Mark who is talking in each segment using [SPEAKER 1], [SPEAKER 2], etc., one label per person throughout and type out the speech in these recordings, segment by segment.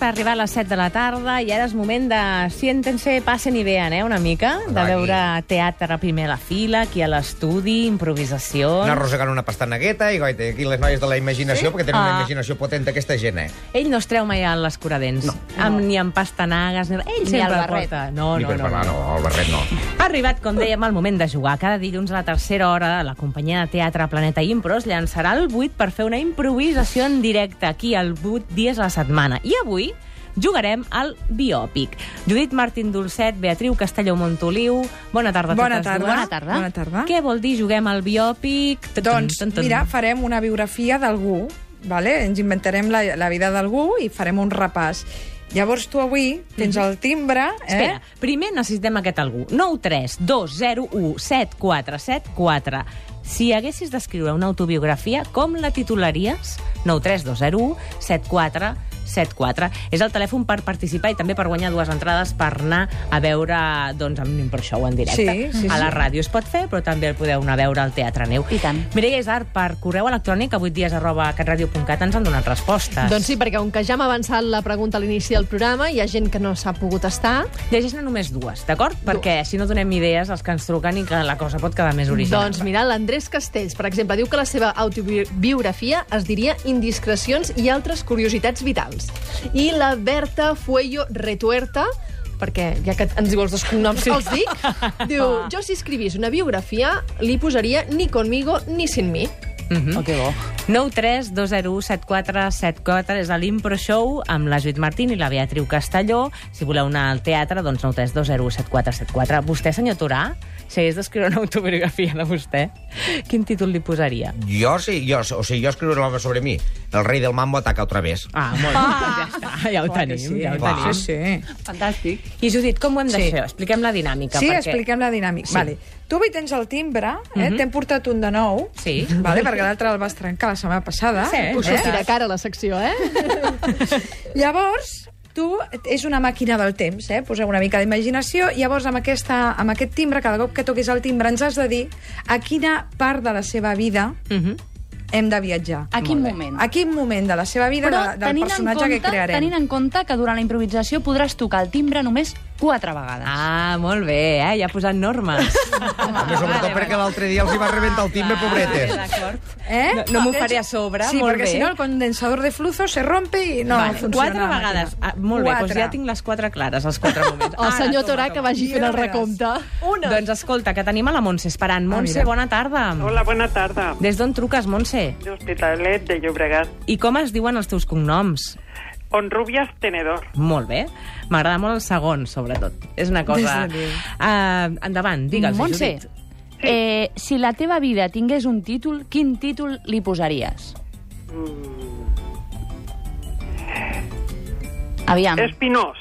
[SPEAKER 1] arribar a les 7 de la tarda i ara és moment de siéntense, passen i vean, eh, una mica, de
[SPEAKER 2] Hola, aquí.
[SPEAKER 1] veure teatre a primera fila, aquí a l'estudi, improvisacions...
[SPEAKER 2] Anar arrossegant una pastanagueta i goita, aquí les noies de la
[SPEAKER 1] Doncs- Sí?
[SPEAKER 2] imaginació, sí? perquè tenen
[SPEAKER 1] Ah.
[SPEAKER 2] una imaginació potent aquesta gent, eh?
[SPEAKER 1] Ell no es treu mai a les curadents, no. Amb, ni amb pastanagues, ni... ell
[SPEAKER 3] Ni
[SPEAKER 1] sempre
[SPEAKER 3] al
[SPEAKER 1] el
[SPEAKER 3] barret.
[SPEAKER 1] porta. No,
[SPEAKER 2] Ni
[SPEAKER 1] no,
[SPEAKER 2] per
[SPEAKER 1] no,
[SPEAKER 2] parlar, no, el barret no.
[SPEAKER 1] Ha arribat, com dèiem, el moment de jugar. Cada dilluns a la tercera hora, la companyia de teatre Planeta Impros llançarà el 8 per fer una improvisació en directe aquí al 8 dies a la setmana. I avui jugarem al biòpic. Judit Martín Dolcet, Beatriu Castelló Montoliu, bona tarda a
[SPEAKER 4] Bona
[SPEAKER 1] totes
[SPEAKER 4] tarda.
[SPEAKER 1] dues.
[SPEAKER 4] Bona tarda. Bona tarda.
[SPEAKER 1] Què vol dir juguem al biòpic?
[SPEAKER 4] Doncs, mira, farem una biografia d'algú, vale? ens inventarem la, la vida d'algú i farem un repàs. Llavors tu avui tens el timbre... Eh?
[SPEAKER 1] Mhm. Espera, primer necessitem aquest algú. 9 3 2 0 1 7 4 7 4. Si haguessis d'escriure una autobiografia, com la titularies? 9 3 2 0 1 7 4 7 4. És el telèfon per participar i també per guanyar dues entrades per anar a veure, doncs, amb un per show en directe.
[SPEAKER 4] Sí, sí,
[SPEAKER 1] a la
[SPEAKER 4] sí.
[SPEAKER 1] ràdio es pot fer, però també el podeu anar a veure al Teatre Neu.
[SPEAKER 3] I tant.
[SPEAKER 1] Mireia Isar, per correu electrònic a 8 dies arroba catradio.cat ens han donat respostes.
[SPEAKER 5] Doncs sí, perquè com que ja m'ha avançat la pregunta a l'inici del programa, hi ha gent que no s'ha pogut estar,
[SPEAKER 1] Llegeix-ne només dues, d'acord? Perquè així no donem idees als que ens truquen i que la cosa pot quedar més original.
[SPEAKER 5] doncs mira, l'Andrés Castells, per exemple, diu que la seva autobiografia es diria Indiscrecions i altres curiositats vitals. I la Berta Fuello Retuerta, perquè ja que ens diu els dos cognoms, els dic, diu, jo si escrivís una biografia li posaria ni conmigo ni sin mi.
[SPEAKER 1] Mhm.
[SPEAKER 3] Oh, que bo.
[SPEAKER 1] 932017474 és a l'Impro Show amb la Judit Martín i la Beatriu Castelló. Si voleu anar al teatre, doncs 932017474. Vostè, senyor Torà, si hagués d'escriure una autobiografia de vostè, quin títol li posaria?
[SPEAKER 2] Jo sí, jo, o sigui, jo escriuré l'obra sobre mi. El rei del mambo ataca otra vez.
[SPEAKER 1] Ah, molt bé, ja està, ja ho
[SPEAKER 4] Clar que
[SPEAKER 1] tenim,
[SPEAKER 4] sí.
[SPEAKER 1] ja ho
[SPEAKER 2] Clar.
[SPEAKER 1] tenim.
[SPEAKER 4] Sí, sí.
[SPEAKER 3] Fantàstic.
[SPEAKER 1] I Judit, com ho hem de
[SPEAKER 4] Sí.
[SPEAKER 1] fer? Expliquem la dinàmica.
[SPEAKER 4] Sí,
[SPEAKER 1] perquè...
[SPEAKER 4] expliquem la dinàmica. Sí. Vale. Tu avui tens el timbre, eh?
[SPEAKER 1] Mhm.
[SPEAKER 4] Mm -hmm. t'hem portat un de nou,
[SPEAKER 1] Sí.
[SPEAKER 4] vale? perquè l'altre el vas trencar la setmana passada.
[SPEAKER 1] Sí,
[SPEAKER 5] Us
[SPEAKER 4] eh?
[SPEAKER 5] sortirà cara la secció, eh?
[SPEAKER 4] Llavors, tu és una màquina del temps, eh? Poseu una mica d'imaginació. Llavors, amb, aquesta, amb aquest timbre, cada cop que toquis el timbre, ens has de dir a quina part de la seva vida
[SPEAKER 1] Mhm.
[SPEAKER 4] hem de viatjar.
[SPEAKER 3] A quin moment?
[SPEAKER 4] A quin moment de la seva vida,
[SPEAKER 3] Però
[SPEAKER 4] de, del
[SPEAKER 3] tenint en,
[SPEAKER 4] personatge
[SPEAKER 3] compte,
[SPEAKER 4] que crearem.
[SPEAKER 3] tenint en compte que durant la improvisació podràs tocar el timbre només quatre vegades.
[SPEAKER 1] Ah, molt bé, eh? Ja ha posat normes. Ah,
[SPEAKER 2] Home, sobretot perquè l'altre dia els hi va rebentar el timbre, pobretes.
[SPEAKER 1] D'acord.
[SPEAKER 4] Eh?
[SPEAKER 1] No- no m'ho faré a sobre,
[SPEAKER 4] sí,
[SPEAKER 1] molt
[SPEAKER 4] perquè
[SPEAKER 1] bé.
[SPEAKER 4] si no el condensador de flujo se rompe i no
[SPEAKER 1] vale,
[SPEAKER 4] funciona.
[SPEAKER 1] quatre
[SPEAKER 4] la màquina.
[SPEAKER 1] vegades. Ah, molt bé, doncs
[SPEAKER 4] Quatre.
[SPEAKER 1] ja tinc les quatre clares, els quatre moments.
[SPEAKER 5] El senyor Torà que vagi
[SPEAKER 4] I
[SPEAKER 5] fent el
[SPEAKER 4] no veràs.
[SPEAKER 5] recompte.
[SPEAKER 1] Una. Doncs escolta, que tenim a la Montse esperant. Montse,
[SPEAKER 4] mira.
[SPEAKER 1] bona tarda.
[SPEAKER 6] Hola, bona tarda.
[SPEAKER 1] Des d'on truques, Montse?
[SPEAKER 6] D'Hospitalet de Llobregat.
[SPEAKER 1] I com es diuen els teus cognoms?
[SPEAKER 6] Onrubias Tenedor.
[SPEAKER 1] Molt bé. M'agrada molt el segon, sobretot. És una cosa...
[SPEAKER 4] Des de Déu.
[SPEAKER 1] Uh, endavant, digue'ls,
[SPEAKER 3] Montse,
[SPEAKER 1] Judit.
[SPEAKER 3] eh, si la teva vida tingués un títol, quin títol li posaries? Aviam. Es...
[SPEAKER 6] Espinós.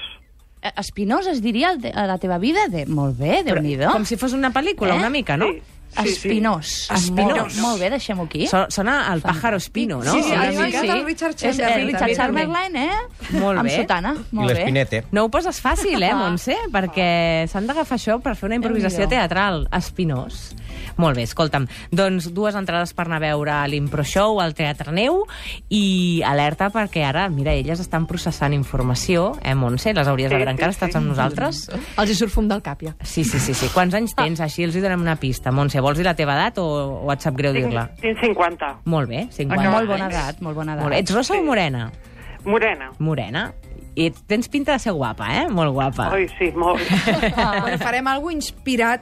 [SPEAKER 3] Espinós es diria el de, a la teva vida? De... Molt bé, déu nhi
[SPEAKER 1] Com si fos una pel·lícula,
[SPEAKER 3] Eh?
[SPEAKER 1] una mica, Ah, no?
[SPEAKER 6] Sí.
[SPEAKER 3] Espinós.
[SPEAKER 1] Espinós.
[SPEAKER 3] Molt, molt bé, deixem-ho aquí.
[SPEAKER 1] So, sona el pájaro espino, no?
[SPEAKER 4] Sí, sí,
[SPEAKER 1] Una
[SPEAKER 4] a mi
[SPEAKER 1] mica.
[SPEAKER 4] m'encanta el Richard
[SPEAKER 3] És,
[SPEAKER 4] Chamberlain.
[SPEAKER 3] eh,
[SPEAKER 4] també.
[SPEAKER 3] Richard Chamberlain, eh?
[SPEAKER 1] Molt
[SPEAKER 3] Amb
[SPEAKER 1] bé.
[SPEAKER 3] sotana.
[SPEAKER 2] I
[SPEAKER 3] Molt bé.
[SPEAKER 2] l'espinete.
[SPEAKER 1] No ho poses fàcil, eh, Montse? Perquè s'han d'agafar això per fer una improvisació
[SPEAKER 3] Déu-n'hi-do.
[SPEAKER 1] teatral. Espinós. Molt bé, escolta'm. Doncs dues entrades per anar a veure l'Impro Show al Teatre Neu i alerta perquè ara, mira, elles estan processant informació, eh, Montse? Les hauries de
[SPEAKER 6] Sí,
[SPEAKER 1] veure
[SPEAKER 6] sí,
[SPEAKER 1] encara, estàs
[SPEAKER 6] sí.
[SPEAKER 1] amb nosaltres?
[SPEAKER 5] Els hi surt fum del cap, ja.
[SPEAKER 1] Sí, sí, sí, sí. Quants anys tens? Així els hi donem una pista. Montse, vols dir la teva edat o, o et sap greu dir-la?
[SPEAKER 6] Tinc, tinc 50.
[SPEAKER 1] Molt bé, 50
[SPEAKER 3] Bueno, molt
[SPEAKER 1] anys.
[SPEAKER 3] bona edat, molt bona edat.
[SPEAKER 1] Molt bé. Ets rossa o morena?
[SPEAKER 6] Morena.
[SPEAKER 1] Morena. I tens pinta de ser guapa, eh? Molt guapa.
[SPEAKER 6] Ai, sí, molt.
[SPEAKER 4] Bueno, farem alguna inspirat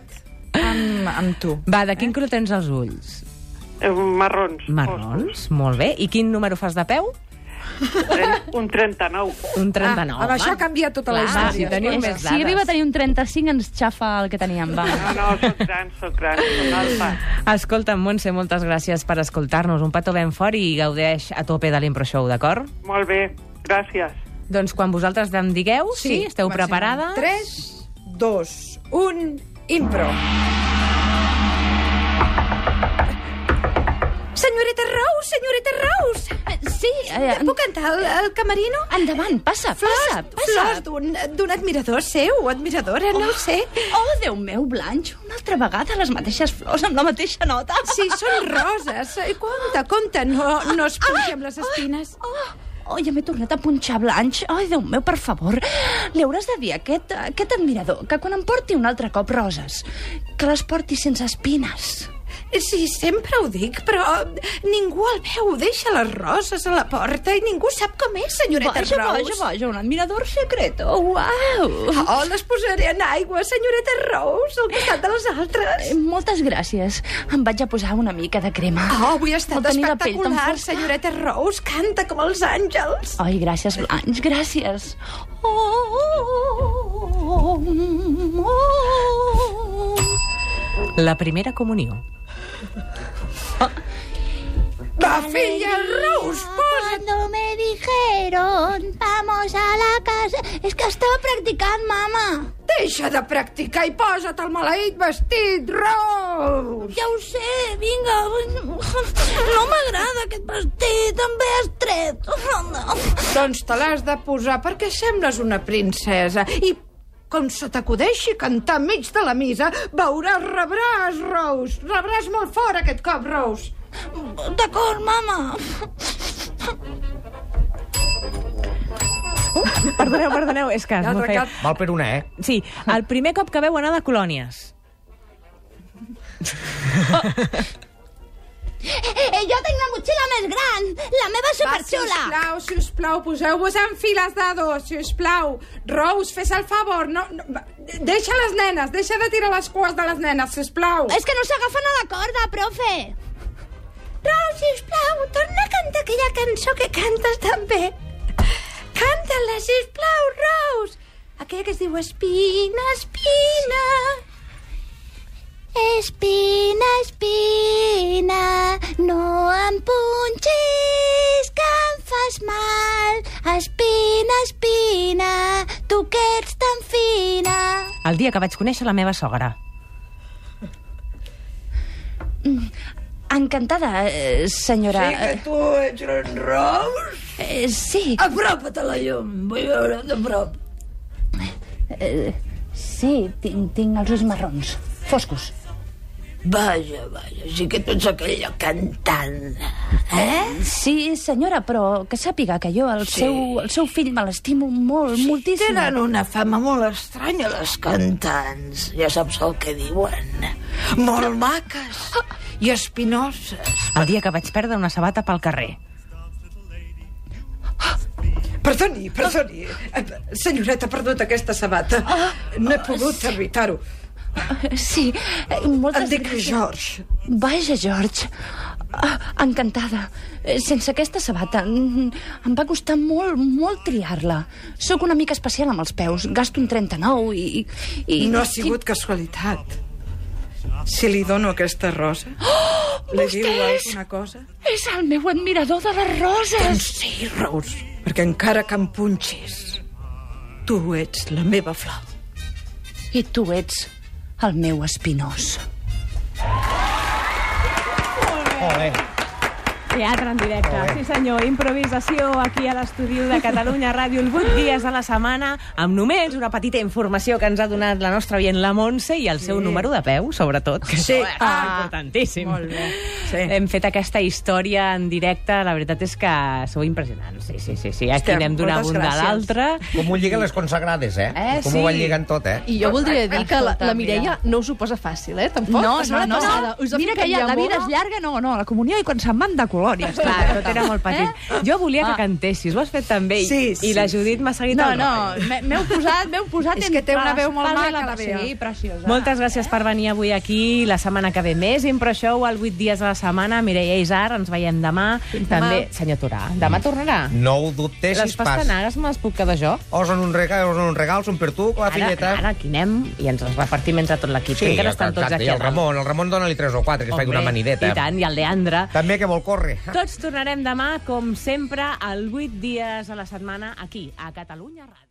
[SPEAKER 4] amb, amb tu.
[SPEAKER 1] Va, de quin color tens els ulls?
[SPEAKER 6] Eh, Marrons.
[SPEAKER 1] Marrons, molt bé. I quin número fas de peu?
[SPEAKER 6] Ostres, Un 39.
[SPEAKER 1] Un 39.
[SPEAKER 4] Ah, amb això
[SPEAKER 1] va.
[SPEAKER 4] canvia tota la
[SPEAKER 1] Clar,
[SPEAKER 4] història.
[SPEAKER 1] si tenim
[SPEAKER 3] Eh,
[SPEAKER 1] més
[SPEAKER 3] Si arriba a
[SPEAKER 1] dades.
[SPEAKER 3] tenir un 35 ens xafa el que teníem, va.
[SPEAKER 6] No, no, sóc gran, sóc gran, sóc alfa.
[SPEAKER 1] Escolta, Montse, moltes gràcies per escoltar-nos. Un petó ben fort i gaudeix a tope de l'Impro Show, d'acord?
[SPEAKER 6] Molt bé, gràcies.
[SPEAKER 1] Doncs quan vosaltres em digueu, sí, esteu
[SPEAKER 4] comencem.
[SPEAKER 1] preparades?
[SPEAKER 4] 3, 2, 1, impro.
[SPEAKER 7] Senyoreta Rose, senyoreta Rose!
[SPEAKER 3] Sí, eh,
[SPEAKER 7] Puc entrar al, al camerino?
[SPEAKER 3] endavant, passa, passa,
[SPEAKER 7] Flors
[SPEAKER 3] passa.
[SPEAKER 7] d'un d'un admirador seu, o admiradora, no ho sé.
[SPEAKER 3] Oh, Déu meu, Blanche, una altra vegada les mateixes flors amb la mateixa nota.
[SPEAKER 7] Sí, són roses. Compte, compte, no, no es pugi amb les espines.
[SPEAKER 3] Oh,
[SPEAKER 7] Oh, ja m'he tornat a punxar Blanche. Ai, Déu meu, per favor. Li hauràs de dir a aquest, a aquest admirador que quan em porti un altre cop roses, que les porti sense espines.
[SPEAKER 8] Sí, sempre ho dic, però ningú el veu. Deixa les roses a la porta i ningú sap com és, senyoreta
[SPEAKER 7] Vaja,
[SPEAKER 8] Rose.
[SPEAKER 7] vaja, vaja, un admirador secreto. Uau!
[SPEAKER 8] Oh, les posaré en aigua, senyoreta Rose, al costat de les altres.
[SPEAKER 7] Eh, Moltes gràcies. Em vaig a posar una mica de crema.
[SPEAKER 8] Oh, avui ha estat
[SPEAKER 7] Vol tenir la pell tan
[SPEAKER 8] espectacular,
[SPEAKER 7] fosca.
[SPEAKER 8] senyoreta Rose. Canta com els àngels.
[SPEAKER 3] Oh.
[SPEAKER 7] Ai, gràcies, Blanche, gràcies. Oh, oh, oh, oh.
[SPEAKER 1] La primera comunió.
[SPEAKER 8] Va, filla, Rose, posa't.
[SPEAKER 9] Cuando me dijeron, vamos a la casa... Es que estaba practicando, mamá.
[SPEAKER 8] Deixa de practicar i posa't el maleït vestit, Rose.
[SPEAKER 9] Ja ho sé, vinga. No m'agrada aquest vestit, també és tret. Oh, no.
[SPEAKER 8] Doncs te l'has de posar perquè sembles una princesa. I com se t'acudeixi cantar enmig de la misa, veuràs, rebràs, Rose. Rebràs molt fort aquest cop, Rose.
[SPEAKER 9] D'acord, mama.
[SPEAKER 1] Perdoneu, perdoneu, és que... es
[SPEAKER 4] L'altre
[SPEAKER 1] me feia-
[SPEAKER 4] cap.
[SPEAKER 2] Val per una, eh?
[SPEAKER 1] Sí, el primer cop que veu anar de colònies.
[SPEAKER 9] Eh, eh, jo tinc la motxilla més gran, la meva superxula.
[SPEAKER 4] sisplau, sisplau, poseu-vos en files de dos, sisplau. Rose, fes el favor, no, no... va, Deixa les nenes, deixa de tirar les cues de les nenes, sisplau.
[SPEAKER 9] És que no s'agafen a la corda, profe. Rau, sisplau, torna a cantar aquella cançó que cantes tan bé. Canta-la, sisplau, Rose. Aquella que es diu Espina, Espina. Espina, espina, no em punxis que em fas mal. Espina, espina, tu que ets tan fina.
[SPEAKER 1] El dia que vaig conèixer la meva sogra.
[SPEAKER 3] Encantada, eh, senyora... Sí, que tu ets en Rose? Eh, sí.
[SPEAKER 8] Apropa't a la llum, vull veure de prop.
[SPEAKER 3] Eh, sí, tinc, tinc els ulls marrons, foscos.
[SPEAKER 8] Vaja, vaja, sí que tu ets aquella cantant.
[SPEAKER 3] Eh? Sí, senyora, però que sàpiga que jo el, sí. seu, el seu fill me l'estimo molt, sí, moltíssim.
[SPEAKER 8] Tenen una fama molt estranya, les cantants. Ja saps el que diuen. Molt maques i espinoses.
[SPEAKER 1] El dia que vaig perdre una sabata pel carrer.
[SPEAKER 4] Perdoni, perdoni. Eh, Senyoreta, ha perdut aquesta sabata. No he pogut evitar-ho.
[SPEAKER 3] Sí, eh, moltes
[SPEAKER 4] Em dic
[SPEAKER 3] gràcies.
[SPEAKER 4] George.
[SPEAKER 3] Vaja, George. Ah, encantada. Eh, Sense aquesta sabata mm, em va costar molt, molt triar-la. Sóc una mica especial amb els peus. Gasto un 39 i... i
[SPEAKER 4] No ha sigut casualitat. Si li dono aquesta rosa, oh, li diu alguna cosa?
[SPEAKER 3] És el meu admirador de les roses.
[SPEAKER 10] Doncs
[SPEAKER 4] Sí, Rose, perquè encara que em punxis, tu ets la meva flor.
[SPEAKER 3] I tu ets el meu espinós.
[SPEAKER 2] Oh, eh?
[SPEAKER 1] Teatre en directe, sí senyor, improvisació aquí a l'estudi de Catalunya Ràdio, el 8 dies a la setmana, amb només una petita informació que ens ha donat la nostra vient la Montse i el seu número de peu, sobretot, que
[SPEAKER 4] Sí.
[SPEAKER 1] això és
[SPEAKER 4] Ah.
[SPEAKER 1] importantíssim.
[SPEAKER 4] Molt bé. Sí.
[SPEAKER 1] Hem fet aquesta història en directe, la veritat és que sou impressionants, sí, sí, sí, sí. aquí
[SPEAKER 4] Hòstia,
[SPEAKER 1] n'hem donat
[SPEAKER 4] moltes
[SPEAKER 1] un de
[SPEAKER 4] gràcies.
[SPEAKER 1] l'altre.
[SPEAKER 2] Com ho lliguen les consagrades, eh?
[SPEAKER 1] Eh,
[SPEAKER 2] Com
[SPEAKER 1] sí.
[SPEAKER 2] ho van lligant tot, eh?
[SPEAKER 5] I jo voldria dir que la, la
[SPEAKER 3] Escolta, mira.
[SPEAKER 5] Mireia no us ho posa fàcil, eh? Tampoc.
[SPEAKER 10] No, no,
[SPEAKER 5] La setmana
[SPEAKER 10] no.
[SPEAKER 5] passada Us
[SPEAKER 10] Mira que ja, la vida és llarga, no, no, la comunió i quan se'n van de colònies.
[SPEAKER 1] Clar, tot era molt petit. Eh? Jo volia que cantessis, ho has fet també, i-
[SPEAKER 4] Ah. Sí, sí,
[SPEAKER 1] i la Judit m'ha seguit
[SPEAKER 10] No,
[SPEAKER 1] el
[SPEAKER 10] no,
[SPEAKER 1] rotllo.
[SPEAKER 10] m'he- m'heu posat, m'heu posat...
[SPEAKER 4] És que té una
[SPEAKER 10] entre
[SPEAKER 4] veu molt
[SPEAKER 10] l'espasa i
[SPEAKER 4] maca, la Bea.
[SPEAKER 10] Sí, preciosa.
[SPEAKER 1] Moltes gràcies per venir avui aquí. La setmana que ve més. Improshow, al 8 dies a la setmana. Mireia Isar, ens veiem demà. També, senyor Torà, demà tornarà.
[SPEAKER 2] No ho dubtes
[SPEAKER 1] Les
[SPEAKER 2] si Mm. pas.
[SPEAKER 1] pastanagues me les puc quedar jo?
[SPEAKER 2] O són un regal, o són un regal, són per tu, la
[SPEAKER 1] Ara,
[SPEAKER 2] filleta.
[SPEAKER 1] ara aquí anem i ens les repartim entre tot l'equip. que encara estan tots
[SPEAKER 2] exacte,
[SPEAKER 1] aquí.
[SPEAKER 2] i
[SPEAKER 1] a
[SPEAKER 2] el
[SPEAKER 1] dalt.
[SPEAKER 2] Ramon, el Ramon dona-li 3 o 4, que es faci
[SPEAKER 1] Home,
[SPEAKER 2] una manideta.
[SPEAKER 1] I tant, i el Leandre.
[SPEAKER 2] També que vol córrer.
[SPEAKER 1] Tots tornarem demà, com sempre, al 8 dies a la setmana, aquí, a Catalunya Ràdio.